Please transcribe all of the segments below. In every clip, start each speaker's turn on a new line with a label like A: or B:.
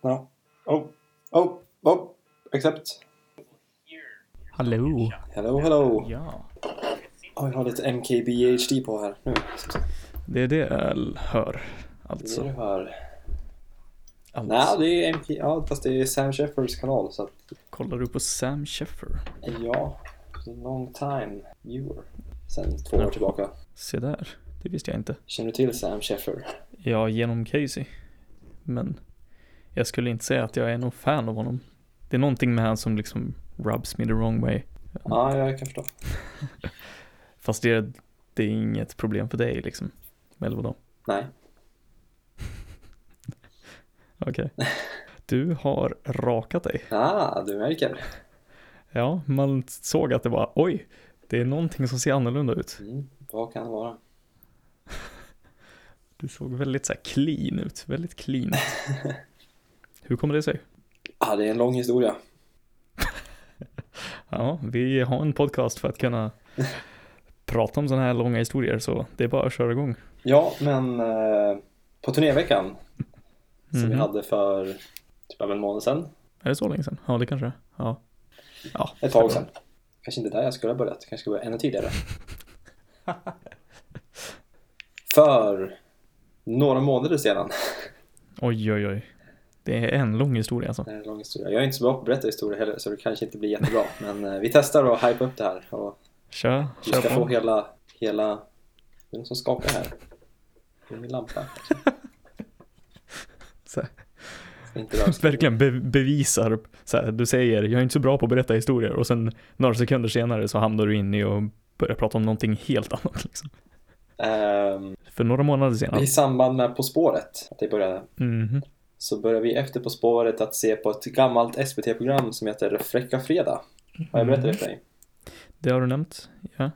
A: Ja. Oh, oh, oh, accept.
B: Hallå!
A: Hello, hello.
B: Ja.
A: Oh, jag har lite MKBHD på här nu.
B: Det är det jag hör.
A: Det är
B: Alltså.
A: det här. Nej,
B: Alls.
A: det är MK... Ja, fast det är Sam Shepherds kanal så att...
B: Kollar du på Sam Sheffer?
A: Ja. Long time viewer. Sen två år
B: Ja.
A: tillbaka.
B: Se där. Det visste jag inte.
A: Känner du till Sam Sheffer?
B: Ja, genom Casey. Men jag skulle inte säga att jag är någon fan av honom. Det är någonting med han som liksom rubs me the wrong way.
A: Ja, jag kan förstå.
B: Fast det, det är inget problem för dig liksom. Eller vadå?
A: Nej.
B: Okej. Du har rakat dig.
A: Ah, du märker.
B: Ja, man såg att det var oj, det är någonting som ser annorlunda ut.
A: Mm. Vad kan det vara?
B: Du såg väldigt så här clean ut, väldigt clean. Hur kommer det sig?
A: Ah, det är en lång historia.
B: Ja, vi har en podcast för att kunna prata om sådana här långa historier så det är bara att köra igång.
A: Ja, men eh, på turnéveckan som vi
B: Mhm.
A: hade för typ över en månad sedan.
B: Är det så länge sedan? Ja, det kanske det är. Ja. ja.
A: Ett tag sedan. Kanske inte där jag skulle ha börjat. Kanske skulle börja ännu tidigare. för några månader sedan.
B: Oj, oj, oj. Det är en lång historia alltså.
A: Det här är en lång historia. Jag är inte så bra på att berätta historier heller så det kanske inte blir jättebra. Men eh, vi testar att hype upp det här. Och
B: Kör,
A: vi
B: kör
A: ska få
B: på.
A: hela, hela... Det är någon som skakar här. Det är min lampa.
B: Så här,
A: Ska inte röra sig.
B: verkligen be- bevisar. Så här, du säger jag är inte så bra på att berätta historier och sen några sekunder senare så hamnar du in i och börjar prata om någonting helt annat. Liksom.
A: Ehm,
B: För några månader senare.
A: I samband med På spåret, att det började,
B: Mhm.
A: så började vi efter På spåret att se på ett gammalt SVT-program som heter Fräcka Fredag. Har jag berättat det för
B: Mm.
A: dig?
B: Det har du nämnt. Ja.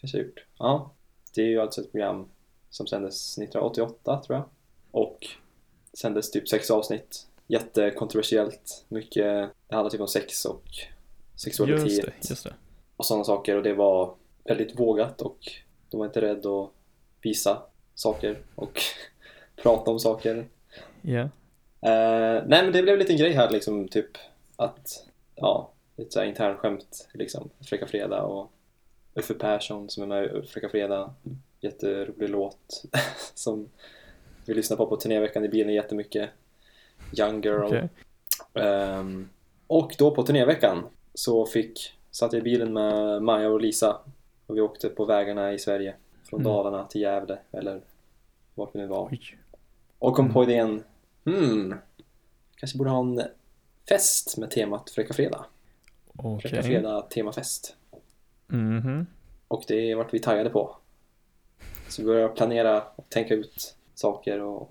A: Kanske jag gjort. Ja. Det är ju alltså ett program som sändes 1988, tror jag. Och sändes typ sex avsnitt. Jättekontroversiellt. Mycket, det handlar typ om sex och sexualitet
B: Just det, just det.
A: och sådana saker. Och det var väldigt vågat och de var inte rädda att visa saker och prata om saker.
B: Ja.
A: Eh, nej men det blev lite en grej här liksom typ att ja, lite såhär internskämt liksom Fräcka Fredag och Uffe Persson som är med i Fräcka Fredag jätterolig låt som vi lyssnar på på turnéveckan i bilen jättemycket Young Girl
B: Okej.
A: Ehm, och då på turnéveckan så fick, satt jag i bilen med Maja och Lisa och vi åkte på vägarna i Sverige från
B: Mm.
A: Dalarna till Gävle eller vart vi nu var
B: Oj.
A: och kom på idén Hmm, kanske borde ha en fest med temat Fräcka Fredag. Fräcka
B: Okej.
A: Fredag temafest.
B: Mhm.
A: Och det vart vi taggade på. Så vi började planera och tänka ut saker och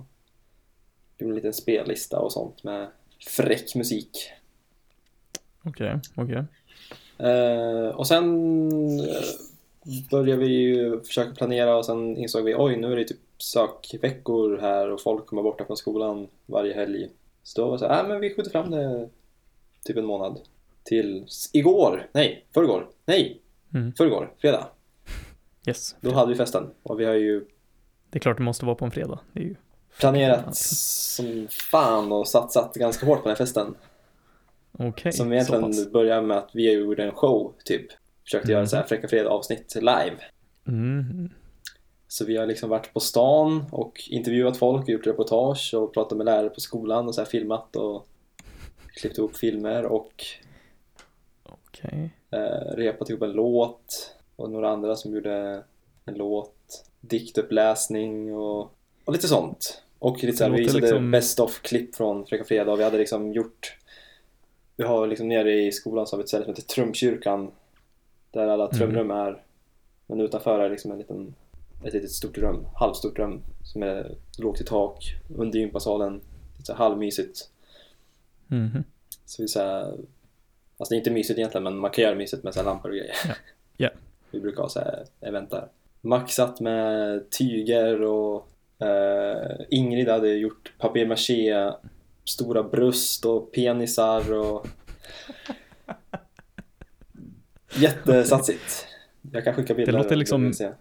A: gjorde en liten spellista och sånt med fräck musik.
B: Okej, okej.
A: Eh, och sen eh, började vi ju försöka planera och sen insåg vi oj nu är det typ sökveckor här och folk kommer borta från skolan varje helg. Så då var det så här, "Nej, men vi skjuter fram det typ en månad. Till s- igår, nej, förrgår, nej,
B: Mm.
A: förrgår, fredag.
B: Yes.
A: Då hade vi festen och vi har ju
B: Det är klart det måste vara på en fredag. Det är ju...
A: planerat som fan och satsat ganska hårt på den här festen.
B: Okej,
A: Som
B: så
A: egentligen
B: pass.
A: började med att vi gjorde en show typ. Försökte göra
B: Mm.
A: så här Fräcka Fredag avsnitt live.
B: Mhm.
A: Så vi har liksom varit på stan och intervjuat folk och gjort reportage och pratat med lärare på skolan och så här filmat och klippt ihop filmer och
B: Okej.
A: eh, repat ihop en låt och några andra som gjorde en låt, diktuppläsning och, och lite sånt. Och lite så här,
B: Det
A: vi
B: låter
A: visade
B: liksom-
A: best of-klipp från Fräcka Fredag och vi hade liksom gjort vi har liksom nere i skolan så har vi ett ställe som heter Trumkyrkan där alla
B: Mm.
A: trumrum är men utanför är liksom en liten ett litet stort rum, halvstort rum som är lågt i tak under gympasalen. Lite så här halvmysigt.
B: Mhm.
A: Så vi så här, alltså det är inte mysigt egentligen men man kan göra mysigt med så här lampor och grejer.
B: Ja. Ja.
A: Vi brukar ha så här event där. Maxat med tyger och eh, Ingrid hade gjort papier-maché stora bröst och penisar och jättesatsigt. Jag kan skicka bilder.
B: låter
A: om du
B: liksom-
A: vill se.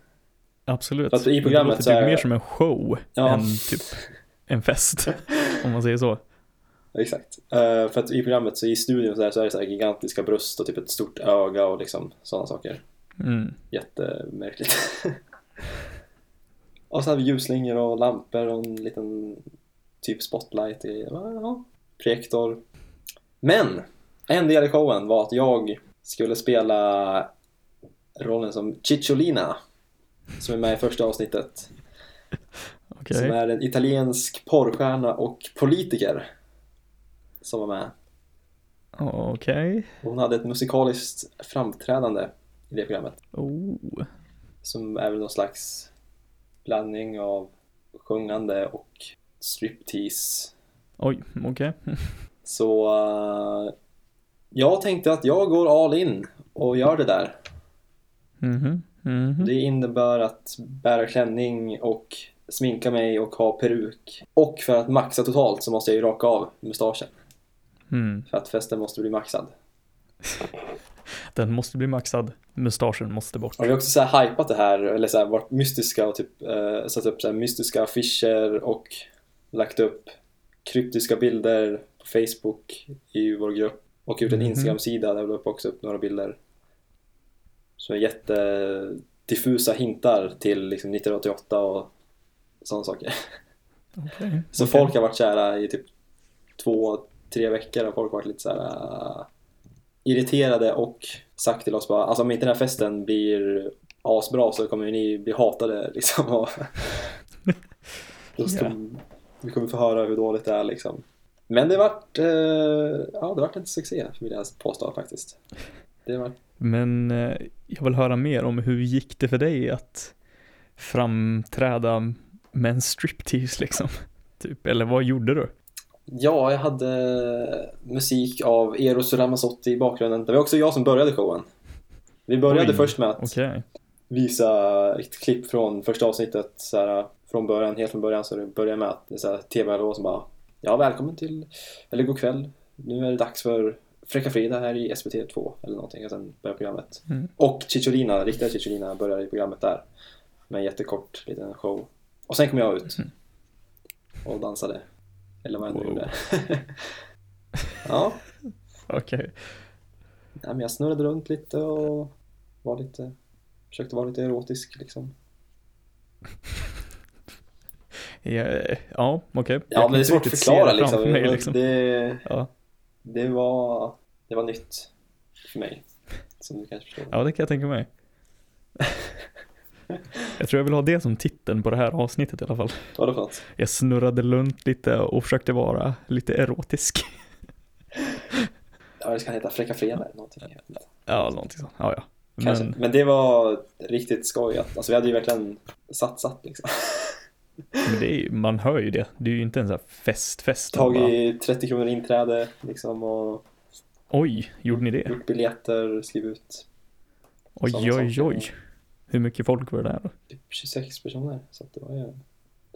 B: Absolut.
A: Fast i programmet
B: det
A: så
B: låter
A: är-
B: typ mer som en show
A: Ja.
B: än typ en fest. om man säger så.
A: Exakt. Eh, för att i programmet, så i studion så, där, så är det så här gigantiska bröst och typ ett stort öga och liksom sådana saker.
B: Mm.
A: Jättemärkligt. och så hade vi ljusslingor och lampor och en liten typ spotlight. I, ja, projektor. Men! En del i showen var att jag skulle spela rollen som Cicciolina. Som är med i första avsnittet.
B: Okej.
A: Som är en italiensk porrstjärna och politiker. Som var med.
B: Okej.
A: Och hon hade ett musikaliskt framträdande i det programmet.
B: Oh.
A: Som är väl någon slags blandning av sjungande och striptease.
B: Oj, okej.
A: Så eh, jag tänkte att jag går all in och gör det där.
B: Mhm. Mhm.
A: Det innebär att bära klänning och sminka mig och ha peruk. Och för att maxa totalt så måste jag ju raka av mustaschen.
B: Mm.
A: För att festen måste bli maxad.
B: Den måste bli maxad. Mustaschen måste bort.
A: Och vi har också så här hypat det här, eller så här, varit mystiska och typ eh, satt upp så här mystiska affischer och lagt upp kryptiska bilder på Facebook i vår grupp och gjort en
B: Mhm.
A: Instagram-sida där vi la upp också upp några bilder. Så jättediffusa hintar till liksom 1988 och sådana saker.
B: Okej.
A: Så
B: Okej.
A: folk har varit kära i typ två, tre veckor och folk har varit lite så här äh, irriterade och sagt till oss bara alltså om inte den här festen blir asbra så kommer ju ni bli hatade liksom. Och då ska,
B: Ja.
A: Vi kommer få höra hur dåligt det är liksom. Men det vart, eh, ja det vart en succé vill jag påstå faktiskt. Det var
B: Men eh, jag vill höra mer om hur gick det för dig att framträda med en striptease liksom? Typ, eller vad gjorde du?
A: Ja, jag hade musik av Eros Ramazzotti i bakgrunden. Det var också jag som började showen. Vi började
B: Oj,
A: först med att
B: Okej.
A: visa ett klipp från första avsnittet så här, från början, helt från början så det börjar med att det är så här tv-hallå som bara Ja, välkommen till, eller god kväll. Nu är det dags för Fräcka Fredag här i SVT2 eller någonting och sen börjar programmet.
B: Mm.
A: Och Cicciolina, riktiga Cicciolina börjar i programmet där med en jättekort liten show. Och sen kom jag ut och dansade. Eller vad jag nu
B: Mm. Wow.
A: gjorde. ja,
B: Okej.
A: nej, men jag snurrade runt lite och var lite, försökte vara lite erotisk liksom.
B: Ja, ja okej. Jag
A: Ja,
B: kan
A: men det är
B: inte
A: svårt att
B: riktigt se
A: förklara
B: det framför
A: liksom.
B: Mig,
A: Men
B: liksom.
A: Det,
B: Ja.
A: det, var, det var nytt för mig. Som du kanske förstår.
B: ja, det kan jag tänka mig. Jag tror jag vill ha det som titeln på det här avsnittet i alla fall.
A: Vad var det för något?
B: Jag snurrade runt lite och försökte vara lite erotisk.
A: Ja, det ska heta Fräcka Fredag eller någonting. jag vet inte.
B: Ja, någonting sånt. Ja, ja.
A: Kanske.
B: Men,
A: Men... det var riktigt skoj. att- Alltså, vi hade ju verkligen satsat liksom.
B: men det är, ju- man hör ju det. Det är ju inte en sån här fest-fest. Bara,
A: Tagit 30 kronor inträde liksom och
B: Oj, gjorde ni det?
A: gjort biljetter, skrivit ut
B: Oj,
A: Sådana
B: oj,
A: saker.
B: oj. Hur mycket folk var det där då?
A: typ 26 personer. Så att det var ju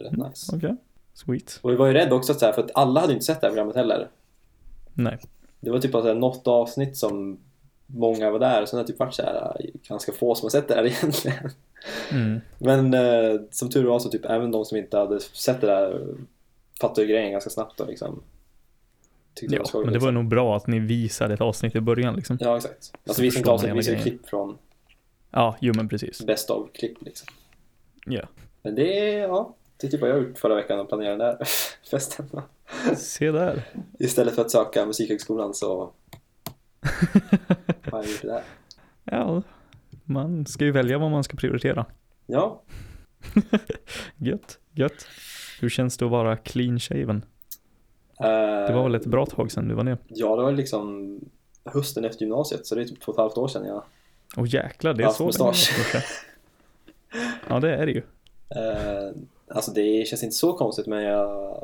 A: rätt nice.
B: Okej, sweet.
A: Och vi var ju rädda också så här, för att alla hade ju inte sett det här programmet heller.
B: Nej.
A: Det var typ alltså något avsnitt som många var där och sen har det typ varit så här äh, ganska få som har sett det här egentligen.
B: Mm.
A: Men eh, som tur var så typ även de som inte hade sett det där äh, fattade ju grejen ganska snabbt då liksom. Tyckte
B: Ja,
A: det var skoj.
B: men det var nog bra att ni visade ett avsnitt i början liksom.
A: liksom. Ja, exakt. Alltså
B: Så
A: vi som
B: förstår man
A: avsnitt
B: hela
A: visade
B: grejen.
A: klipp från
B: Ja, jo men precis.
A: Best of-klipp liksom.
B: Ja.
A: Men det, är- ja, det är typ vad jag har gjort förra veckan och planerat den där festen.
B: Se där.
A: Istället för att söka Musikhögskolan så har jag gjort det där.
B: Ja, man ska ju välja vad man ska prioritera.
A: Ja,
B: Gött, gött. Hur känns det att vara clean shaven?
A: eh,
B: Det var väl ett bra tag sedan du var ner?
A: Ja, det var liksom hösten efter gymnasiet, så det är typ två och ett halvt år sedan jag...
B: Åh jäklar, det är
A: Haft
B: så länge.
A: mustasch.
B: Ja, det är det ju.
A: Eh, alltså det känns inte så konstigt, men jag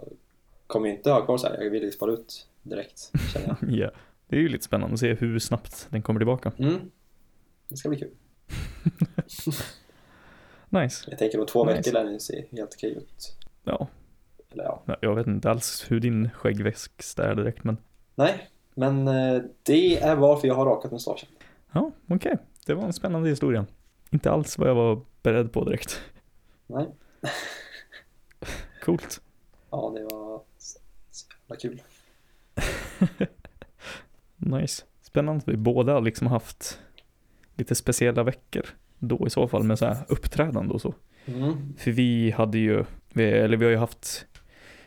A: kommer ju inte ha kvar så här. Jag vill ju spara ut direkt, känner jag.
B: Ja. Det är ju lite spännande att se hur snabbt den kommer tillbaka.
A: Mm. Det ska bli kul.
B: Nice.
A: Jag tänker om två
B: Nice.
A: veckor lär den se helt okej ut.
B: Ja,
A: Eller ja,
B: jag vet inte alls hur din skäggväxt är direkt, men
A: nej. Men eh, det är varför jag har rakat mustaschen.
B: ja, okej. Det var en spännande historia. Inte alls vad jag var beredd på direkt.
A: Nej.
B: Coolt.
A: Ja, det var så så jävla kul.
B: nice. Spännande att vi båda har liksom haft lite speciella veckor då i så fall med så här uppträdande och så.
A: Mm.
B: För vi hade ju, vi, eller vi har ju haft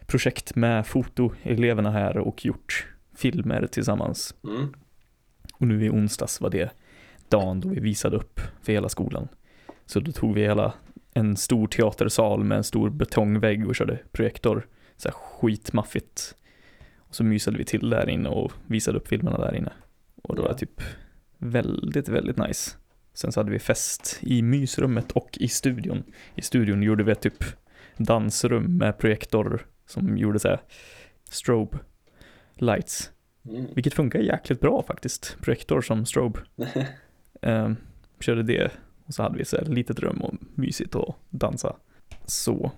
B: projekt med fotoeleverna här och gjort filmer tillsammans.
A: Mm.
B: Och nu i onsdags var det dagen då vi visade upp för hela skolan. Så då tog vi hela en stor teatersal med en stor betongvägg och körde projektor. Så här skitmaffigt. Och så mysade vi till där inne och visade upp filmerna där inne. Och det var
A: Ja.
B: typ väldigt, väldigt nice. Sen så hade vi fest i mysrummet och i studion. I studion gjorde vi ett typ dansrum med projektor som gjorde så här strobe lights.
A: Mm.
B: Vilket funkar jäkligt bra faktiskt. Projektor som strobe. Ehm, körde det och så hade vi så här litet rum och mysigt och dansa. Så.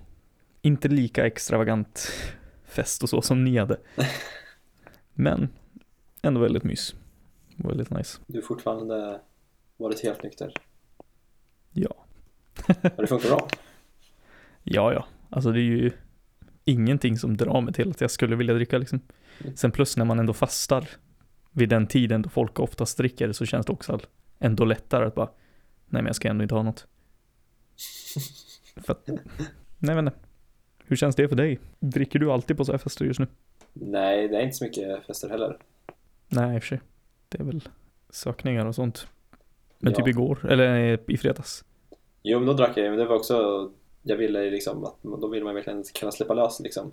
B: Inte lika extravagant fest och så som ni hade. Men ändå väldigt mys. Väldigt nice.
A: Du har fortfarande varit helt nykter.
B: Ja.
A: Men det funkar bra.
B: Ja, ja. Alltså det är ju ingenting som drar mig till att jag skulle vilja dricka liksom. Sen plus när man ändå fastar vid den tiden då folk oftast dricker så känns det också all- ändå lättare att bara nej men jag ska ändå inte ha något. För att, nej men hur känns det för dig? Dricker du alltid på så här fester just nu?
A: Nej, det är inte så mycket fester heller.
B: Nej i och för sig. Det är väl sökningar och sånt. Men
A: Ja.
B: typ igår, eller eh, i fredags.
A: Jo, men då drack jag ju, men det var också... Jag ville ju liksom att... Då ville man verkligen kunna släppa lös liksom.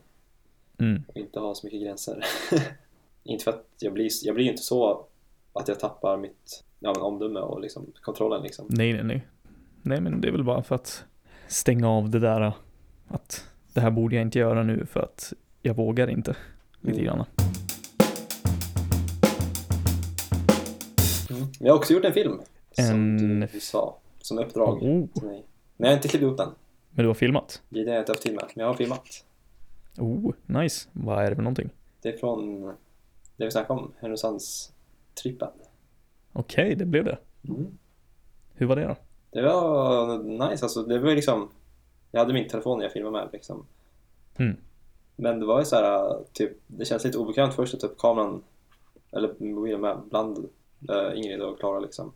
B: Mm.
A: och inte ha så mycket gränser. inte för att jag blir, jag blir ju inte så att jag tappar mitt ja, men omdöme och liksom, kontrollen liksom.
B: Nej, nej, nej. Nej, men det är väl bara för att stänga av det där äh, att det här borde jag inte göra nu för att jag vågar inte. Lite
A: Mm.
B: grann.
A: Men jag har också gjort en film, som
B: En-
A: du, du sa, som uppdrag
B: Oh,
A: till mig. Men jag har inte klippt ihop den.
B: men du har filmat?
A: Det är det jag inte haft tid med, men jag har filmat.
B: Oh, nice. Vad är det för någonting?
A: Det är från det vi snackade om, Härnösandstrippen.
B: Okej, det blev det.
A: Mm.
B: Hur var det då?
A: Det var nice alltså, det var ju liksom Jag hade min telefon jag filmade med liksom
B: Mm.
A: Men det var ju så här, typ, det känns lite obekvämt först att ta upp kameran eller mobilen med bland eh, Ingrid och Klara liksom.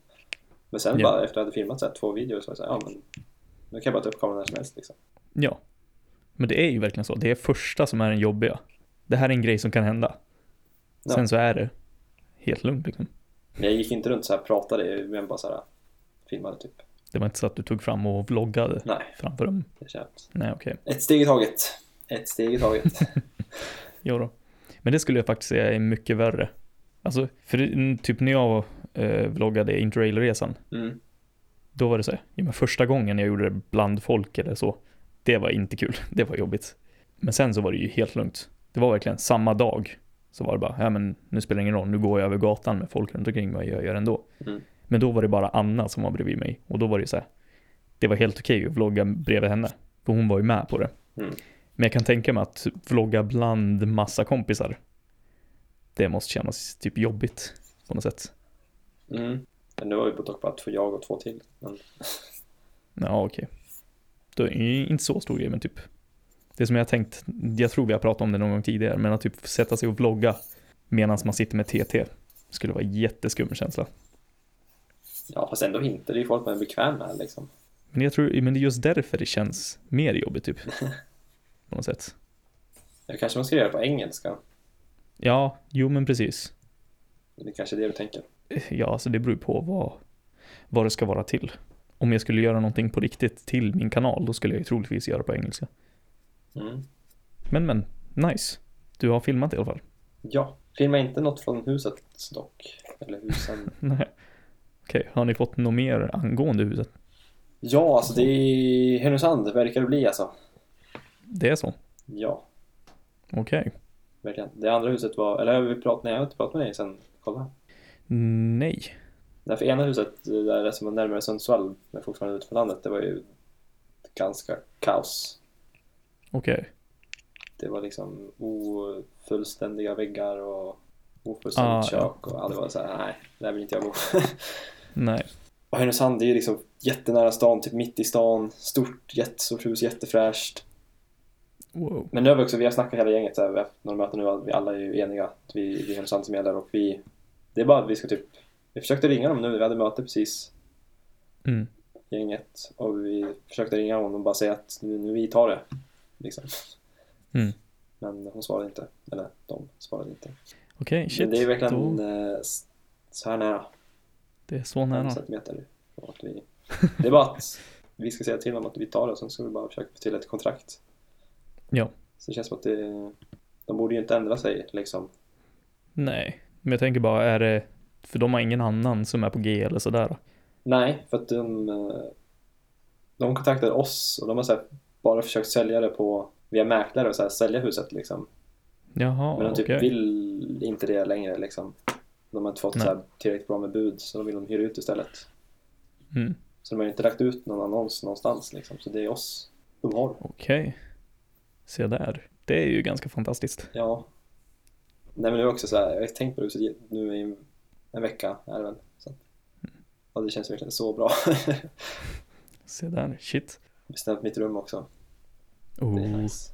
A: Men sen
B: Ja.
A: bara efter att jag hade filmat så här, två videor så var jag så här, ja men nu kan jag bara ta upp kameran när som helst liksom.
B: Ja, men det är ju verkligen så. Det är första som är den jobbiga. Det här är en grej som kan hända.
A: Ja.
B: Sen så är det helt lugnt liksom.
A: Men jag gick inte runt så här och pratade, men bara så här filmade typ.
B: Det var inte så att du tog fram och vloggade
A: Nej,
B: framför dem.
A: det känns.
B: Nej, okej.
A: Ett steg i taget. Ett steg i taget.
B: Jo då. Men det skulle jag faktiskt säga är mycket värre. Alltså, för det- mm, typ när jag eh, vloggade Interrail-resan,
A: Mm.
B: då var det så här, ja, men första gången jag gjorde det bland folk eller så, det var inte kul, det var jobbigt. Men sen så var det ju helt lugnt. Det var verkligen samma dag, så var det bara, ja men nu spelar det ingen roll, nu går jag över gatan med folk runt omkring mig, jag gör ändå.
A: Mm.
B: Men då var det bara Anna som var bredvid mig, och då var det ju så här, det var helt okej att vlogga bredvid henne, för hon var ju med på det.
A: Mm.
B: Men jag kan tänka mig att vlogga bland massa kompisar, det måste kännas typ jobbigt på något sätt.
A: Mm. Men nu var vi på dock bara två jag och två till. Men
B: Ja, okej. Då är det ju inte så stor grej, men typ. Det som jag tänkt, jag tror vi har pratat om det någon gång tidigare, men att typ sätta sig och vlogga medan man sitter med TT skulle vara en jätteskum känsla.
A: ja, fast ändå inte. Det är ju folk man är bekväm med liksom.
B: Men jag tror, men det är just därför det känns mer jobbigt typ. På något sätt.
A: Det kanske man ska göra på engelska.
B: Ja, jo men precis.
A: Det är kanske är det du tänker.
B: Ja, alltså det beror ju på vad, vad det ska vara till. Om jag skulle göra någonting på riktigt till min kanal, då skulle jag ju troligtvis göra på engelska.
A: Mm.
B: Men men, nice. Du har filmat i alla fall.
A: Ja, filma inte något från huset dock. Eller husen.
B: Nej. Okej, har ni fått något mer angående huset?
A: Ja, alltså det är Härnösand verkar det bli alltså.
B: Det är så?
A: Ja,
B: Okej.
A: verkligen. Det andra huset var, eller vi pratade, nej jag har inte pratat med dig sen. Kolla.
B: Nej.
A: Därför ena huset, det där som var närmare Sundsvall, men fortfarande ute på landet, det var ju ganska kaos.
B: Okej.
A: Det var liksom ofullständiga väggar och ofullständigt
B: Ah, ja.
A: kök och allt var så här, nej, där vill inte jag bo.
B: Nej.
A: Och Härnösand det är ju liksom jättenära stan, typ mitt i stan. Stort, jättestort hus, jättefräscht.
B: Wow.
A: Men nu har vi också, vi har snackat hela gänget så här, vi har haft några möten nu att vi alla är ju eniga. Att vi, det är Härnösand som gäller och vi... Det är bara att vi ska typ... Vi försökte ringa dem nu, vi hade möte precis,
B: Mm.
A: gänget. Och vi försökte ringa dem och bara säga att nu, nu vi tar det. Liksom.
B: Mm.
A: Men hon svarade inte. Eller de svarade inte.
B: Okej, shit.
A: Men det är verkligen
B: Då,
A: eh, s- så här nära.
B: det är så
A: fem
B: nära.
A: centimeter. Och att vi, det är bara att vi ska säga till dem att vi tar det och sen ska vi bara försöka få till ett kontrakt.
B: Ja.
A: Så det känns som att det, de borde ju inte ändra sig liksom.
B: Nej, men jag tänker bara, är det... För de har ingen annan som är på G eller sådär.
A: Nej, för att de, eh, de kontaktade oss och de har så här, bara försökt sälja det på via mäklare och så här, sälja huset liksom.
B: Jaha,
A: Men de
B: okej.
A: typ vill inte det längre liksom. De har inte fått så
B: Nej.
A: här, tillräckligt bra med bud så de vill de hyra ut istället.
B: Mm.
A: Så de har ju inte lagt ut någon annons någonstans liksom. Så det är oss de har.
B: Okej. Se där. Det är ju ganska fantastiskt.
A: Ja. Nej men nu också så här, jag har tänkt på det så nu i en vecka är det väl. Så. att- Ja, det känns verkligen så bra.
B: Se där, shit.
A: Bestämt mitt rum också. Det är
B: Oh,
A: nice.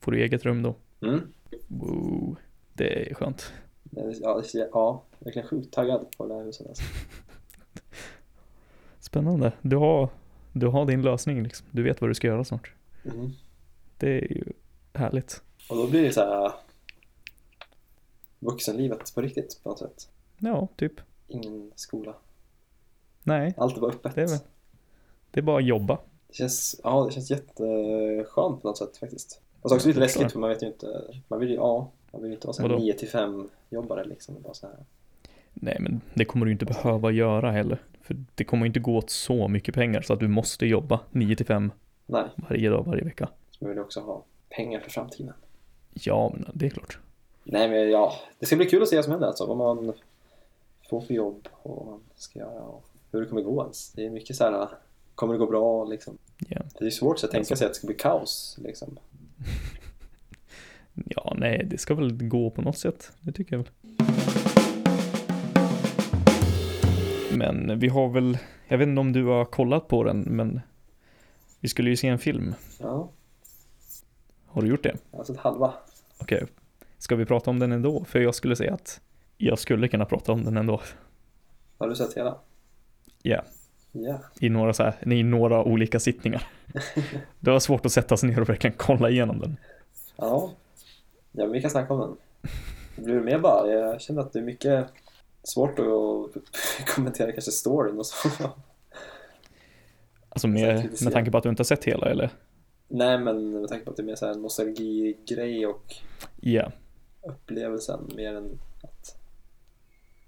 B: Får du eget rum då?
A: Mm.
B: Wow. Det är skönt.
A: Det är- Ja, det är, ja, verkligen sjukt taggad på det här huset alltså.
B: Spännande. Du har, du har din lösning liksom. Du vet vad du ska göra snart.
A: Mm.
B: Det är ju härligt.
A: Och då blir det så här vuxenlivet på riktigt på något sätt.
B: Ja, typ.
A: Ingen skola.
B: Nej,
A: Allt är bara öppet.
B: det är väl. Det är bara att jobba.
A: Det känns, ja, det känns jätteskönt på något sätt faktiskt. Och så också lite
B: Jag förstår.
A: läskigt för man vet ju inte, man vill ju, ja, man vill ju inte vara sån
B: Vadå?
A: 9 till 5 jobbare liksom. Bara så här.
B: Nej, men det kommer du inte behöva göra heller. För det kommer inte gå åt så mycket pengar så att du måste jobba 9 till 5
A: Nej,
B: varje dag, varje vecka.
A: Man vill också ha pengar för framtiden.
B: Ja, men det är klart.
A: Nej men ja, det ska bli kul att se vad som händer alltså. Vad man får för jobb och vad man ska göra och hur det kommer gå ens. Det är mycket så här, kommer det gå bra liksom?
B: Ja.
A: Det är svårt så att tänka
B: Alltså.
A: sig att det ska bli kaos liksom.
B: Ja, nej, det ska väl gå på något sätt. Det tycker jag väl. Men vi har väl, jag vet inte om du har kollat på den, men vi skulle ju se en film.
A: Ja,
B: Har du gjort det?
A: jag har sett halva.
B: Okej, ska vi prata om den ändå? För jag skulle säga att jag skulle kunna prata om den ändå
A: Har du sett hela?
B: Ja.
A: Ja.
B: i några, så här, i några olika sittningar. Det var svårt att sätta sig ner och verkligen kolla igenom den.
A: Ja. Ja, men vi kan snacka om den. Det blir mer bara, jag känner att det är mycket svårt att kommentera kanske storyn och så.
B: Alltså
A: Så här
B: med,
A: kritiserar.
B: med tanke på att du inte har sett hela eller?
A: Nej men med tanke på att det är mer så här nostalgigrej och
B: Ja,
A: upplevelsen mer än att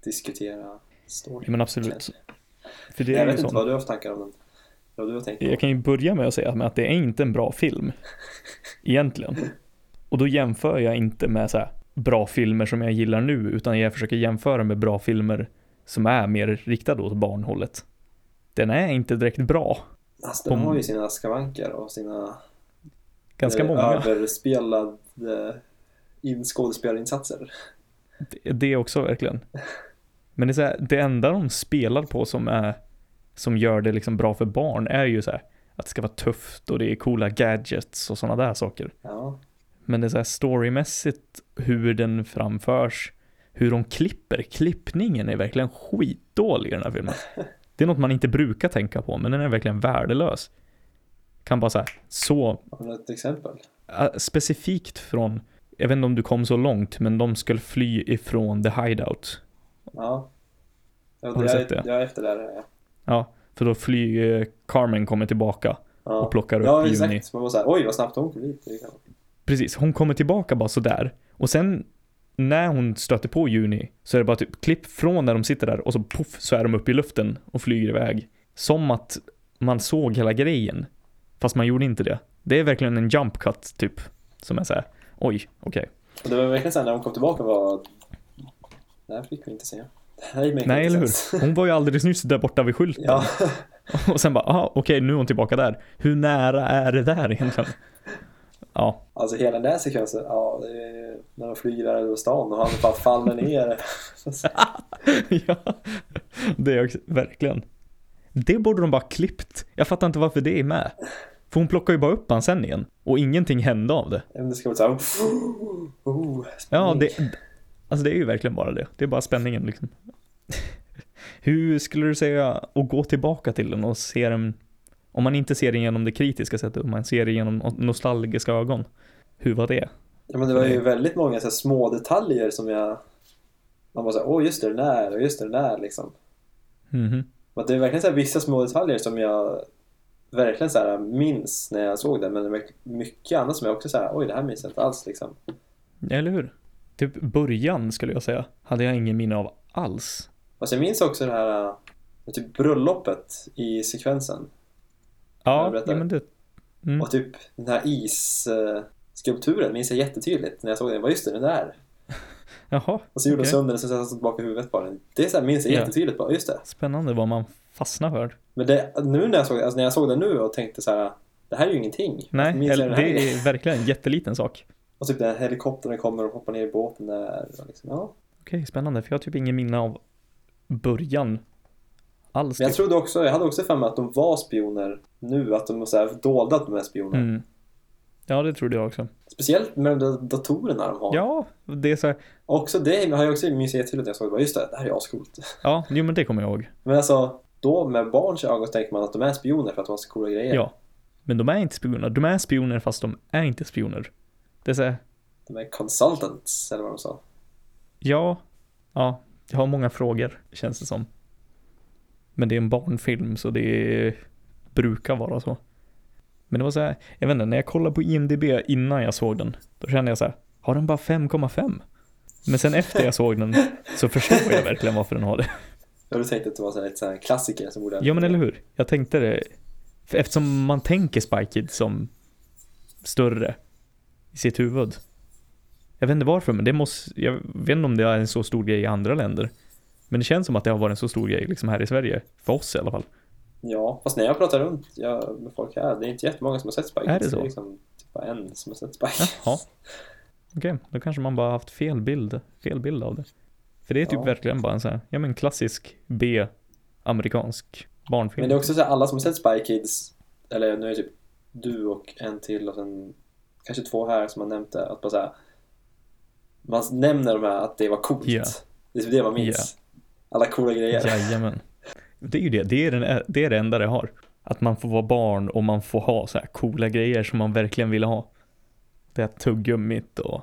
A: diskutera storyn.
B: men absolut.
A: kanske.
B: För det
A: Jag
B: är ju
A: vet inte
B: sånt.
A: vad du har för tankar om den. Vad du har tänkt på.
B: Jag kan ju börja med att säga att det är inte en bra film. Egentligen. Och då jämför jag inte med så här bra filmer som jag gillar nu, utan jag försöker jämföra med bra filmer som är mer riktade åt barnhållet. Den är inte direkt bra.
A: Alltså, den
B: om-
A: har ju sina skavanker och sina
B: Ganska
A: eh,
B: många.
A: överspelade in skådespelarinsatser.
B: Det- Det också verkligen. Men det, är så här, det enda de spelar på som, är, som gör det liksom bra för barn är ju så här, att det ska vara tufft och det är coola gadgets och sådana där saker.
A: Ja,
B: Men det är så här storymässigt hur den framförs, hur de klipper, klippningen är verkligen skitdålig i den här filmen. Det är något man inte brukar tänka på, men den är verkligen värdelös. Kan bara så här, så
A: har du något exempel?
B: äh, specifikt från, jag vet inte om du kom så långt, men de skulle fly ifrån the hideout.
A: Ja. Jag,
B: Har du
A: jag,
B: sett det?
A: Jag är efter där. Ja,
B: Ja, för då flyger Carmen kommer tillbaka och
A: ja.
B: plockar upp
A: ja
B: Juni.
A: exakt. Man var såhär, oj vad snabbt hon kom dit. Det kan-
B: Precis, hon kommer tillbaka bara sådär. Och sen när hon stöter på Juni så är det bara typ klipp från när de sitter där och så poff så är de uppe i luften och flyger iväg. Som att man såg hela grejen. Fast man gjorde inte det. Det är verkligen en jump cut typ. Som är såhär, oj, okej.
A: Och det var verkligen såhär när hon kom tillbaka var... Det här fick vi inte se. Det här gick mig inte
B: Nej, eller
A: sens.
B: hur? Hon var ju alldeles nyss där borta vid skylten.
A: Ja.
B: Och sen bara, aha, okej, nu är hon tillbaka där. Hur nära är det där egentligen? Ja,
A: Alltså hela den här sekvensen, ja, det är när de flyger där över stan och han bara faller ner.
B: ja, det är också, verkligen. Det borde de bara klippt. Jag fattar inte varför det är med. För hon plockar ju bara upp han sen igen. Och ingenting hände av det.
A: Det ska vara såhär... Oh,
B: Ja,
A: spänning.
B: det, alltså det är ju verkligen bara det. Det är bara spänningen liksom. Hur skulle du säga att gå tillbaka till den och se den, om man inte ser den genom det kritiska sättet, om man ser den genom no- nostalgiska ögon, hur var det?
A: Ja, men det var ju väldigt många så här, små detaljer som jag... Man bara såhär, åh just det, den där och just det, den där liksom.
B: Mhm.
A: Men det är verkligen så här, vissa små detaljer som jag verkligen så här, minns när jag såg den. Men det är mycket annat som jag också såhär, oj det här minns jag inte alls liksom.
B: Eller hur? Typ början skulle jag säga, hade jag ingen minne av alls.
A: Fast jag minns också det här eh, typ bröllopet i sekvensen. Jag
B: Ja,
A: berättar.
B: ja men det... Mm.
A: Och typ den här isskulpturen minns jag jättetydligt när jag såg den. Jag bara, just det, den där.
B: Jaha,
A: Och så gjorde
B: Okej.
A: jag sönder den och sen satte jag tillbaka huvudet på den. Det är så här, minns jag
B: Ja.
A: jättetydligt bara, just det.
B: spännande vad man fastnar för.
A: Men det, nu när jag såg, alltså när jag såg den nu och tänkte så här, det här är ju ingenting. Varför
B: Nej,
A: minns
B: eller,
A: jag den här?
B: det är verkligen en jätteliten sak.
A: Och typ den här helikoptern kommer och hoppar ner i båten där. Och liksom, ja.
B: Okej, spännande, för jag har typ ingen minne av början alls.
A: Men jag
B: Typ.
A: trodde också, jag hade också för mig att de var spioner nu, att de så här, dolde att de är spioner.
B: Mm. Ja, det trodde jag också.
A: Speciellt med de där datorerna de har.
B: Ja, det är så här,
A: Också det har jag också minns jag jättetydligt när jag såg det, bara, just det, det här är ascoolt.
B: ja, jo men det kommer jag ihåg.
A: Men alltså, då med barns ögon så tänker man att de är spioner för att de har så coola grejer.
B: Ja. Men de är inte spioner, de är spioner fast de är inte spioner. Det är så här,
A: De är consultants, eller vad de sa.
B: ja, ja, jag har många frågor, känns det som. Men det är en barnfilm så det brukar vara så. Men det var så här, jag vet inte, när jag kollade på IMDB innan jag såg den, då kände jag så här, har den bara 5,5? Men sen efter jag såg den så förstår jag verkligen varför den har det.
A: Jag hade tänkt att det var så här, ett så här klassiker som borde...
B: Ja men eller hur? Jag tänkte det. För Eftersom man tänker Spy Kids som större i sitt huvud. Jag vet inte varför men det måste, jag vet inte om det är en så stor grej i andra länder. Men det känns som att det har varit en så stor grej liksom här i Sverige. För oss i alla fall.
A: Ja, fast när jag pratar runt jag, med folk här, det är inte jättemånga som har sett Spike.
B: Är det så?
A: är liksom typ bara en som har sett Spike.
B: Jaha. Okej, då kanske man bara haft fel bild, fel bild av det. För det är typ
A: Ja.
B: verkligen bara en sån här, ja men klassisk B, amerikansk barnfilm.
A: Men det är också så här, alla som har sett Spy Kids, eller nu är det typ du och en till och sen kanske två här som man nämnde, att bara så här, man nämner de här att det var coolt.
B: Ja.
A: Det är typ det man minns. Alla coola grejer.
B: Jajamän. Det är ju det, det är, den, det är det enda det har. Att man får vara barn och man får ha så här coola grejer som man verkligen vill ha. Det här tuggummit och...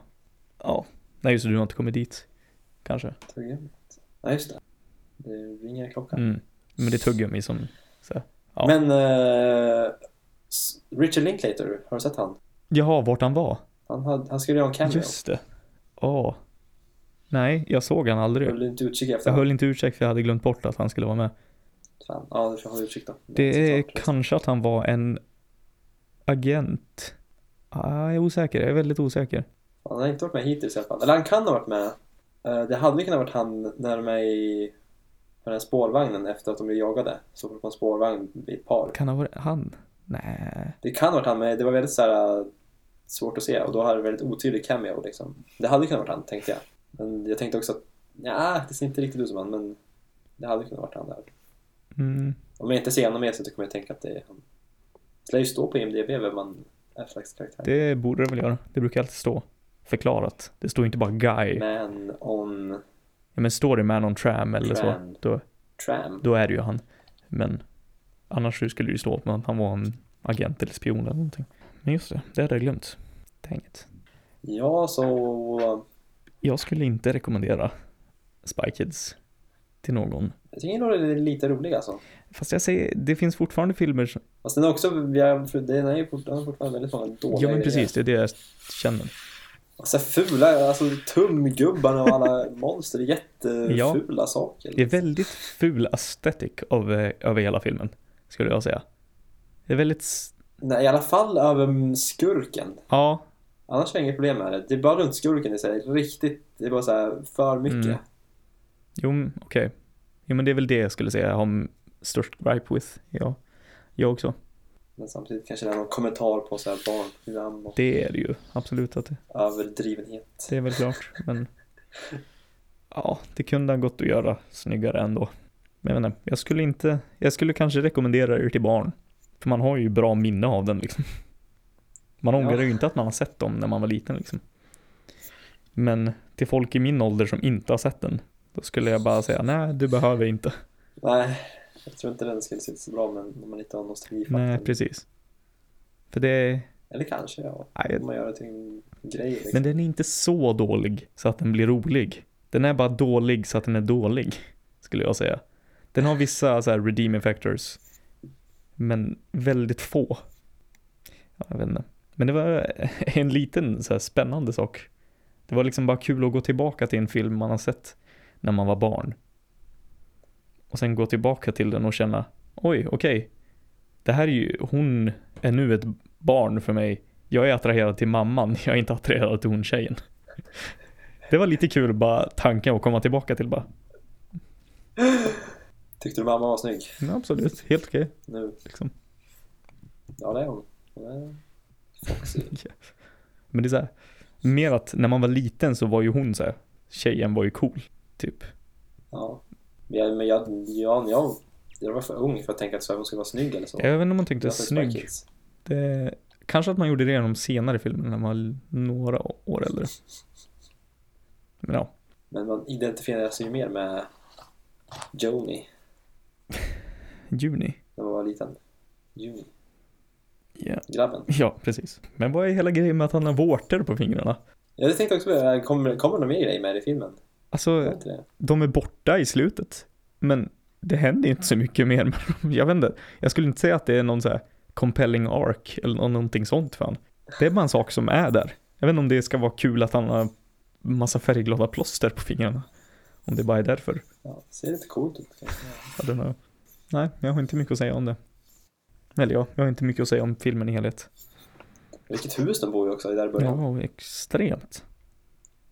B: Ja. Nej just det, du har inte kommit dit. Kanske.
A: Ja, just det. Det ringer i klockan.
B: Mm. Men det är tuggummi som... Så här. Ja.
A: Men eh, S- Richard Linklater, har du sett han?
B: Jaha, vart han var?
A: Han, hade, han skulle göra en cameo.
B: Just det. Åh. Nej, jag såg han aldrig.
A: Höll du inte utkik efter
B: Jag
A: honom?
B: höll inte ursäkt för jag hade glömt bort att han skulle vara med.
A: Fan. Ja, du får hålla utkik då.
B: Det är
A: Såklart.
B: kanske att han var en agent. Ah, jag är osäker, jag är väldigt osäker.
A: Han har inte varit med hittills i alla fall. Eller han kan ha varit med. Eh, Det hade kunnat varit han när de är i på den här spårvagnen efter att de blir jagade. Så får de på en spårvagn i ett par.
B: Kan ha varit han? Nej.
A: Det kan ha varit han, men det var väldigt så här, eh, svårt att se och då hade det väldigt otydlig cameo. Liksom. Det hade kunnat varit han, tänkte jag. Men jag tänkte också att ja, det ser inte riktigt ut som han, men det hade kunnat varit han där.
B: Mm.
A: Om jag inte ser honom mer så kommer jag tänka att det är han. Det lär ju stå på IMDB vem man är för slags karaktär.
B: Det borde det väl göra. Det brukar alltid stå förklarat. Det står inte bara guy.
A: Man on
B: Ja, men står det man on tram eller
A: Tram.
B: så, då,
A: tram.
B: då är det ju han. Men annars så skulle det ju stå att man- han var en agent eller spion eller någonting. Men just det, det hade jag glömt. Dang it.
A: Ja, så
B: Jag skulle inte rekommendera Spy Kids till någon.
A: Jag tycker nog den är lite rolig alltså.
B: Fast jag säger, det finns fortfarande filmer som...
A: Fast den är också, vi har, för den är ju fortfarande, fortfarande väldigt många dåliga
B: Ja men
A: grejer.
B: precis, det är det jag känner.
A: Alltså fula, alltså tumgubbarna och alla monster, det är jättefula saker.
B: Det är väldigt ful aesthetic av, eh, över hela filmen, skulle jag säga. Det är väldigt, s-
A: Nej, i alla fall över mm, skurken.
B: ja,
A: Annars har jag inget problem med det. Det är bara runt skurken det är så här riktigt, det är bara så här för mycket.
B: Mm. jo, men okej. Jo, men det är väl det jag skulle säga jag har m- störst gripe with, ja. Jag också.
A: Men samtidigt kanske det är någon kommentar på så här barnprogram och
B: Det är det ju, absolut att det,
A: överdrivenhet.
B: det är väl klart, men ja, det kunde ha gått att göra snyggare ändå. Men jag vet inte, jag skulle inte, jag skulle kanske rekommendera det till barn. För man har ju bra minne av den liksom. Man
A: Ja.
B: ångrar ju inte att man har sett dem när man var liten liksom. Men till folk i min ålder som inte har sett den, då skulle jag bara säga nej, du behöver inte.
A: Nej, jag tror inte den skulle sitta så bra men om man inte har
B: Nej,
A: nostalgifaktorn.
B: precis. För det,
A: Eller kanske, ja.
B: nej, jag
A: Om man gör det till en grej liksom.
B: Men den är inte så dålig så att den blir rolig. Den är bara dålig så att den är dålig, skulle jag säga. Den har vissa så här redeeming factors, men väldigt få. Ja, Jag vet inte. Men det var en liten så här spännande sak. Det var liksom bara kul att gå tillbaka till en film man har sett när man var barn. Och sen gå tillbaka till den och känna, oj, okej. Det här är ju, hon är nu ett barn för mig. Jag är attraherad till mamman, jag är inte attraherad till hon tjejen. Det var lite kul bara tanken att komma tillbaka till bara.
A: Tyckte du mamma var snygg?
B: "Ja, absolut, helt okej.
A: Nu?
B: Liksom.
A: Ja, det är hon. Hon är foxy.
B: Men det är så här, mer att när man var liten så var ju hon så här, tjejen var ju cool, typ.
A: Ja. Men jag, men jag, jag, jag, jag var för ung för att tänka att så här, hon skulle vara snygg eller så.
B: Jag vet inte om man
A: Jag
B: tyckte
A: har sett Spy
B: snygg.
A: Kids.
B: Det, kanske att man gjorde det i de senare filmerna när man var några år äldre. Men ja,
A: Men man identifierar sig ju mer med Joni
B: juni.
A: när man var liten. Joni,
B: Ja.
A: grabben.
B: ja, precis. Men vad är hela grejen med att han har vårtor på fingrarna?
A: Ja, det tänkte jag också på. Kommer, kommer det någon mer grej med det i filmen?
B: Alltså,
A: Gör inte det?
B: de är borta i slutet. Men det händer ju inte så mycket mer med dem. Jag vet inte. Jag skulle inte säga att det är någon så här compelling arc eller nå- någonting sånt fan. Det är bara en sak som är där. Jag vet inte om det ska vara kul att han har massa färgglada plåster på fingrarna. Om det bara är därför.
A: Ja, det ser lite coolt ut. kanske.
B: I don't know. Nej, jag har inte mycket att säga om det. Eller ja, jag har inte mycket att säga om filmen i helhet.
A: Vilket hus de bor i också, i där i början.
B: Ja, extremt.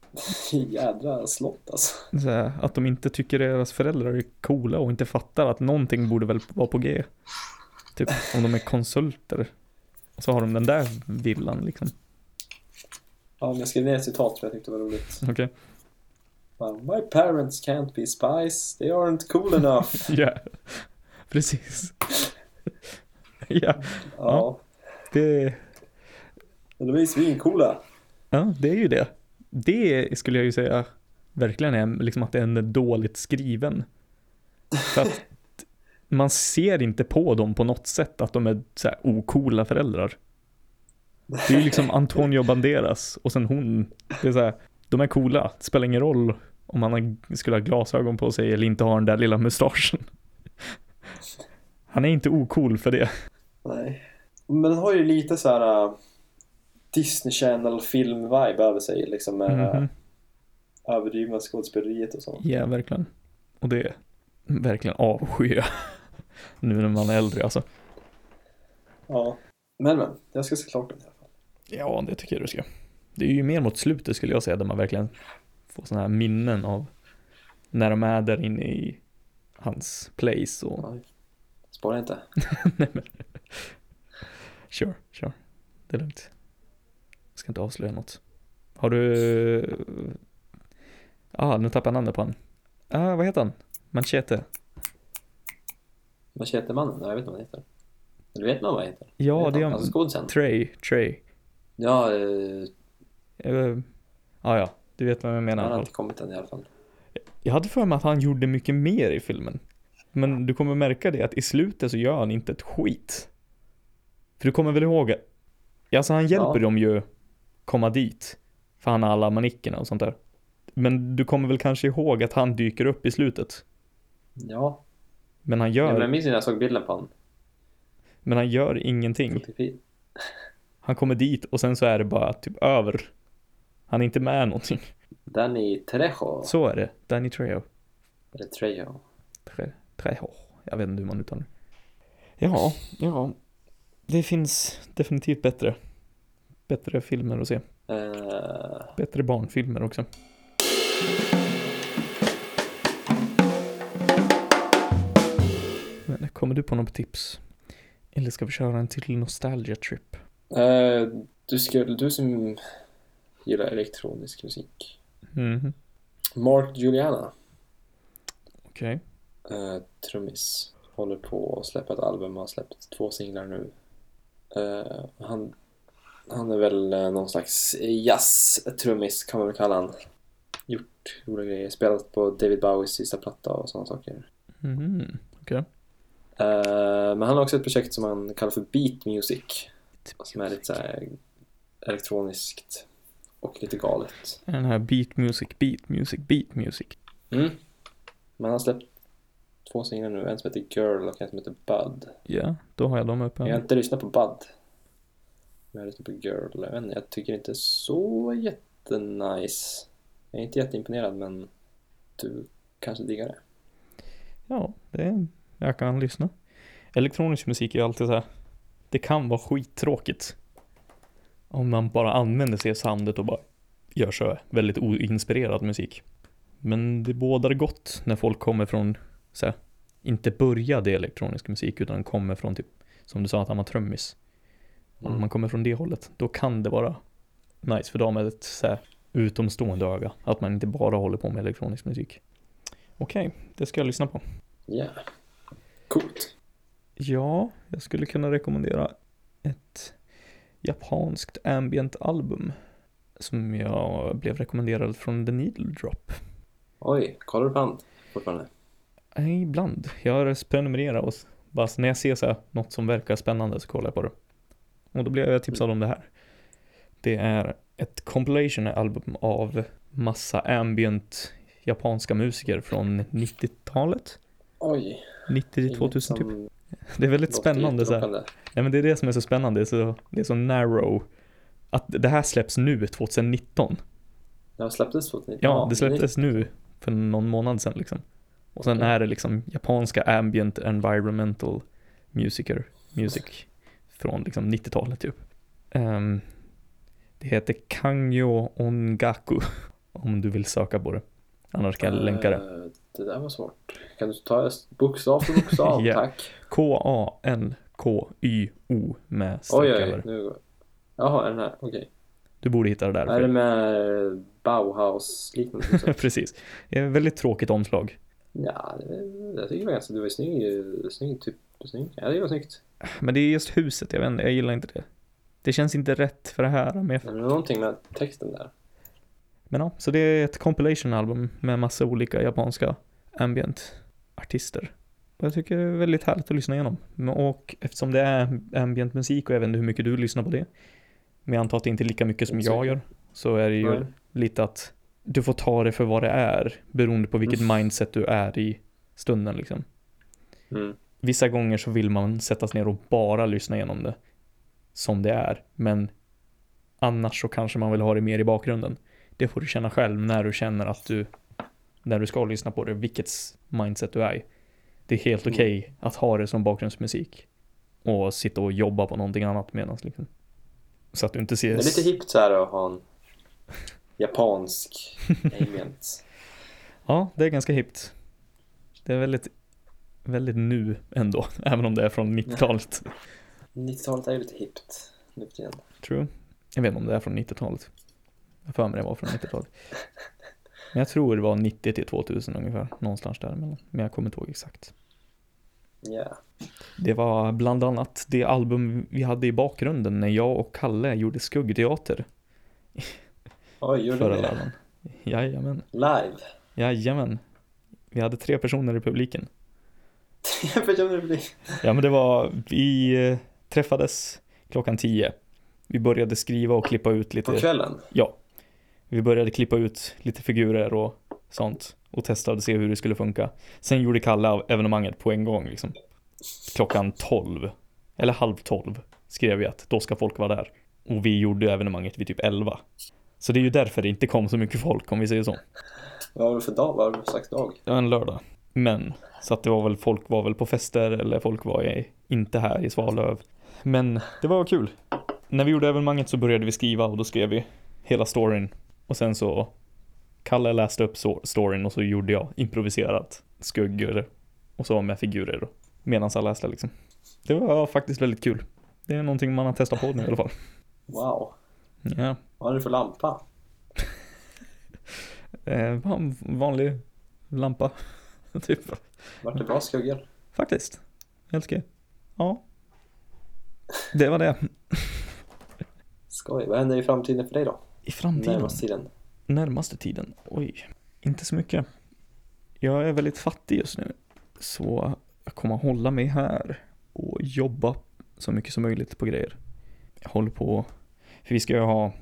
A: Jädra slott alltså.
B: Så här, att de inte tycker deras föräldrar är coola och inte fattar att någonting borde väl vara på G. Typ om de är konsulter. Och så har de den där villan liksom.
A: Ja, men jag skrev ner ett citat för jag tyckte det var roligt.
B: Okej.
A: Bara, My parents can't be spies, they aren't cool enough.
B: Ja. Precis. Ja,
A: Ja,
B: det,
A: men de är ju svincoola.
B: ja, det är ju det. Det skulle jag ju säga verkligen är liksom att den är dåligt skriven. För att man ser inte på dem på något sätt att de är så här ocoola föräldrar. Det är ju liksom Antonio Banderas och sen hon. Det är så här, de är coola. Det spelar ingen roll om han har- skulle ha glasögon på sig eller inte har den där lilla mustaschen. Han är inte ocool för det.
A: Nej. Men den har ju lite så här äh, Disney Channel film-vibe över sig liksom med
B: Mhm.
A: mm överdrivna skådespeleriet och så.
B: Ja, verkligen. Och det är verkligen avskyr jag. Nu när man är äldre alltså.
A: Ja. Men men, jag ska se klart den i alla fall.
B: Ja, det tycker jag du ska. Det är ju mer mot slutet skulle jag säga, där man verkligen får sådana här minnen av när de är där inne i hans place och
A: Spara inte.
B: nej men. Sure, sure. Det är lugnt. Jag ska inte avslöja något. Har du... Ah, nu tappar jag namnet på han. Ah, vad heter han? Manchete.
A: Machete-mannen, jag vet inte vad han heter. Du vet nog vad han heter?
B: Ja,
A: Vet
B: det är
A: han?
B: han.
A: Alltså skådisen.
B: Trey, Trey.
A: Ja, eh,
B: Uh, ah, ja, du vet vad jag menar. i
A: han
B: alla
A: har
B: fall.
A: inte kommit än i alla fall.
B: Jag hade för mig att han gjorde mycket mer i filmen. Men du kommer märka det att i slutet så gör han inte ett skit. För du kommer väl ihåg? Alltså han hjälper
A: Ja.
B: dem ju komma dit. För han har alla manickerna och sånt där. Men du kommer väl kanske ihåg att han dyker upp i slutet.
A: Ja,
B: Men han
A: ja
B: gör,
A: men jag
B: men...
A: minns ju när jag såg bilden på honom.
B: han gör ingenting.
A: Fotografi.
B: Han kommer dit och sen så är det bara typ över. Han är inte med någonting.
A: Danny Trejo.
B: Så är det. Danny Trejo.
A: Eller Trejo.
B: Tre, tre hår. Jag vet inte hur man uttalar det. Ja, ja. Det finns definitivt bättre. Bättre filmer att se.
A: Eh,
B: Bättre barnfilmer också. Men kommer du på något tips? Eller ska vi köra en till nostalgia trip?
A: Eh, du, ska, du som gillar elektronisk musik.
B: Mhm.
A: Mark Juliana,
B: Okej.
A: eh, trummis. håller på att släppa ett album. Han har släppt två singlar nu. Eh, han, han är väl eh, någon slags jazz-trummis kan man väl kalla han. Gjort roliga grejer. Spelat på David Bowies sista platta och sådana saker.
B: Mhm, Okej.
A: Eh, men han har också ett projekt som han kallar för Beat Music. Som är lite så här elektroniskt och lite galet.
B: Är Den här beat music, beat music, beat music.
A: Mm. Men han har släppt två singlar nu. En som heter Girl och en som heter Bud.
B: Ja, då har jag dem uppe.
A: Jag har inte lyssnat på Bud. Men jag har lyssnat på Girl. Jag, vet inte, jag tycker inte så jättenice. Jag är inte jätteimponerad men du kanske diggar det.
B: Ja, det, jag kan lyssna. Elektronisk musik är ju alltid så här. Det kan vara skittråkigt. Om man bara använder sig av soundet och bara gör så här väldigt oinspirerad musik. Men det bådar gott när folk kommer från, så här, inte började i elektronisk musik utan kommer från typ, som du sa att han var trummis.
A: Mm.
B: Om man kommer från det hållet, då kan det vara nice för dem med ett så här, utomstående öga. Att man inte bara håller på med elektronisk musik. Okej, det ska jag lyssna på.
A: Ja. Coolt.
B: Ja, jag skulle kunna rekommendera ett japanskt ambient album som jag blev rekommenderad från The Needle Drop.
A: Oj, kollar du på hand fortfarande?
B: Eh, Ibland. Jag prenumererar och s- bara så när jag ser så här, något som verkar spännande så kollar jag på det. Och då blev jag tipsad om det här. Det är ett compilation album av massa ambient japanska musiker från 90-talet.
A: Oj.
B: 90 till
A: inget
B: 2000 typ.
A: som
B: Det är väldigt
A: låter
B: spännande så här.
A: utlockande.
B: Ja, men det är det som är så spännande, det är så, det är så narrow. Att det här släpps nu, 2019.
A: Det här släpptes 2019.
B: Ja, det släpptes nu för någon månad sedan liksom. Och sen
A: Okej.
B: är det liksom japanska ambient environmental musiker, music från liksom 90-talet typ. Ehm, det heter Kangyo Ongaku, om du vill söka på det. Annars kan jag länka det.
A: Eh, Det där var svårt. Kan du ta bokstav för bokstav?
B: Ja.
A: Tack.
B: K-A-N-K-Y-O med
A: Oj,
B: streck
A: oj,
B: över.
A: nu går Jaha, är den här? Okej.
B: Du borde hitta det där.
A: Är
B: för-
A: det med eh, Bauhaus-liknande musik?
B: Precis. Det är ett väldigt tråkigt omslag.
A: ja, det- jag tycker det var ganska... Det var snygg, snygg typ. Snygg. Ja, det var snyggt.
B: Men det är just huset, jag vet inte, jag gillar inte det. Det känns inte rätt för det här. Men, jag,
A: Men det var någonting med texten där.
B: men ja, så det är ett compilation album med massa olika japanska ambient artister. Och jag tycker det är väldigt härligt att lyssna igenom. Men- Och eftersom det är ambient musik och jag vet inte hur mycket du lyssnar på det. Men jag antar att det inte är lika mycket som
A: Inte så
B: jag gör. Så är det ju
A: Nej.
B: lite att du får ta det för vad det är. Beroende på vilket mindset du är i stunden liksom.
A: Mm.
B: Vissa gånger så vill man sätta sig ner och bara lyssna igenom det som det är, men annars så kanske man vill ha det mer i bakgrunden. Det får du känna själv när du känner att du, när du ska lyssna på det, vilket s- mindset du är i. Det är helt
A: Mm.
B: okej att ha det som bakgrundsmusik och sitta och jobba på någonting annat medans liksom. Så att du inte
A: Det
B: ser...
A: är lite hippt så här att ha en japansk ambient.
B: Ja, det är ganska hippt. Det är väldigt, väldigt nu ändå, även om det är från 90-talet.
A: 90-talet är ju lite hippt nu för tiden.
B: True. Jag vet inte om det är från 90-talet. Jag har för mig det var från 90-talet. Men jag tror det var 90 till 2000 ungefär, någonstans där. Men, men jag kommer inte ihåg exakt.
A: Ja.
B: Det var bland annat det album vi hade i bakgrunden när jag och Kalle gjorde skuggteater
A: Oj, gjorde
B: förra
A: du det?
B: lördagen. Jajamän,
A: Live?
B: jajamän. Vi hade tre personer i publiken.
A: Jag vet inte om det blir...
B: Ja men det var, vi eh, träffades klockan 10. Vi började skriva och klippa ut lite.
A: På kvällen?
B: Ja. Vi började klippa ut lite figurer och sånt och testade och se hur det skulle funka. Sen gjorde Kalle av evenemanget på en gång liksom. Klockan 12, eller halv 12, skrev vi att då ska folk vara där. Och vi gjorde evenemanget vid typ 11. Så det är ju därför det inte kom så mycket folk om vi säger så.
A: Vad var det för dag? Vad var det för slags dag?
B: Det var en lördag. Men, så att det var väl, folk var väl på fester eller folk var i, inte här i Svalöv. Men det var kul. När vi gjorde evenemanget så började vi skriva och då skrev vi hela storyn. Och sen så, Kalle läste upp so- storyn och så gjorde jag improviserat skuggor och så med figurer då, medan han läste liksom. Det var faktiskt väldigt kul. Det är någonting man har testat på nu i alla fall.
A: Wow.
B: Ja,
A: Vad är det för lampa?
B: eh, van- vanlig lampa, typ.
A: Vart det bra skuggor?
B: Faktiskt. Helt okej. Ja. Det var det.
A: Skoj. Vad händer i framtiden för dig då?
B: I framtiden.
A: Närmaste tiden?
B: närmaste tiden? Oj, inte så mycket. Jag är väldigt fattig just nu. Så jag kommer hålla mig här och jobba så mycket som möjligt på grejer. Jag håller på, för vi ska ju ha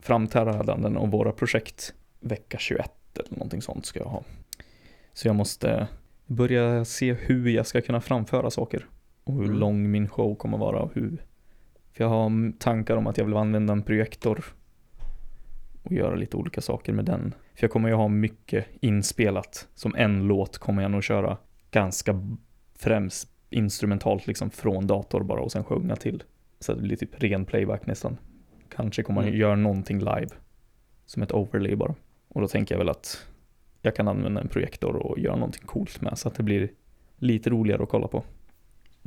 B: framträdanden om våra projekt vecka 21 eller någonting sånt ska jag ha. Så jag måste börja se hur jag ska kunna framföra saker och hur
A: Mm.
B: lång min show kommer vara och hur. För jag har tankar om att jag vill använda en projektor och göra lite olika saker med den. För jag kommer ju ha mycket inspelat. Som en låt kommer jag nog köra ganska b- främst instrumentalt liksom från dator bara och sen sjunga till. Så att det blir typ ren playback nästan. Kanske kommer jag
A: Mm.
B: göra någonting live. Som ett overlay bara. Och då tänker jag väl att jag kan använda en projektor och göra någonting coolt med så att det blir lite roligare att kolla på.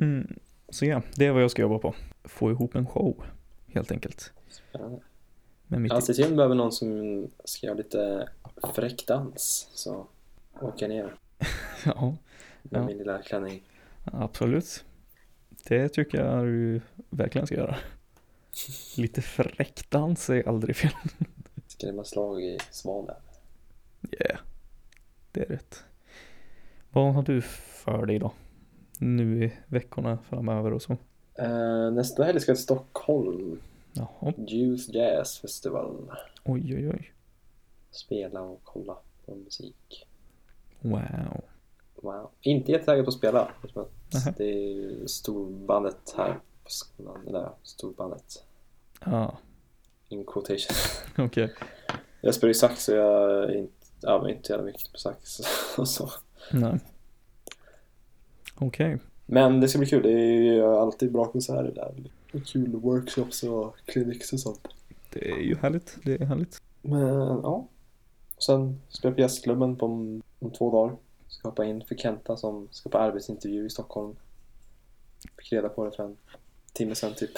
B: Mm. Så ja, det är vad jag ska jobba på. Få ihop en show helt enkelt.
A: Spännande.
B: Med mitt
A: Hans team behöver någon som ska göra lite fräck dans. Så åker jag ner
B: ja.
A: med
B: Ja.
A: min lilla klänning.
B: Absolut. Det tycker jag du verkligen ska göra. Lite fräckdans är aldrig fel.
A: Skrämma slag i svanen.
B: Yeah. Det är rätt. Vad har du för dig då? Nu i veckorna framöver och så.
A: Eh, nästa helg ska jag till Stockholm.
B: Jaha.
A: Youth Jazz Festival.
B: Oj oj oj.
A: Spela och kolla på musik.
B: Wow.
A: Wow. Inte jättetaggad på att spela. eftersom att
B: Nähä.
A: Det är ju storbandet här på skolan. Det där storbandet.
B: Ja,
A: In quotation.
B: okej.
A: Jag spelar ju sax så jag är inte, ja, men inte så jävla mycket på sax och så.
B: Nej. Okej.
A: Men det ska bli kul. Det är ju alltid bra konserter där. Och kul workshops och clinics och sånt.
B: Det är ju härligt. Det är härligt.
A: Men ja. Och sen spelar jag på jazzklubben på om, om två dagar. Ska hoppa in för Kenta som ska på arbetsintervju i Stockholm. Fick reda på det för en timme sedan typ.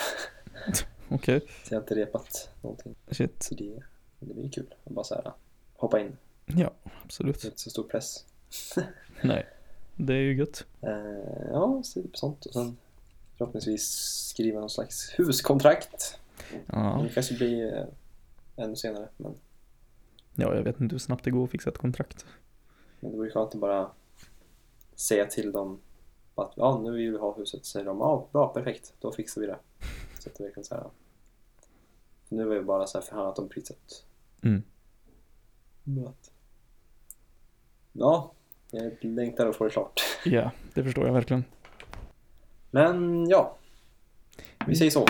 B: Okej.
A: Så jag har inte repat någonting.
B: Shit.
A: Så det, det blir kul. att Bara så här, hoppa in.
B: Ja,
A: Det är
B: absolut.
A: inte så stor press.
B: Nej. Det är ju gött.
A: Eh, ja, så typ sånt. Och sen förhoppningsvis skriva någon slags huskontrakt.
B: Ja.
A: Det kanske blir eh, ännu senare. Men,
B: ja, jag vet inte hur snabbt det går att fixa ett kontrakt.
A: men det vore skönt att bara säga till dem att ja, nu vill vi ha huset. Så säger de ja, bra, perfekt, då fixar vi det. Så att det verkligen så här. Nu har vi bara så här förhandlat om priset.
B: Mm.
A: Men att- Ja, jag längtar att få det klart.
B: Ja, det förstår jag verkligen.
A: Men ja, vi säger så.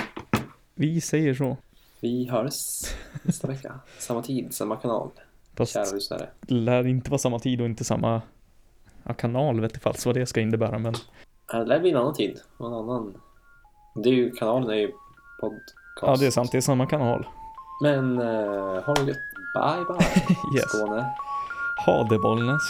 B: Vi säger så.
A: Vi hörs nästa vecka. Samma tid, samma kanal.
B: Fast
A: Kära lyssnare.
B: lär inte vara samma tid och inte samma ja, kanal vet jag vad det ska innebära men
A: Ja, Det lär bli en annan tid och en annan... Det är ju, kanalen är ju podcast.
B: ja det är sant, det är samma kanal.
A: Men eh, ha det gött. Bye bye.
B: Yes.
A: Skåne.
B: Ha det Bollnäs.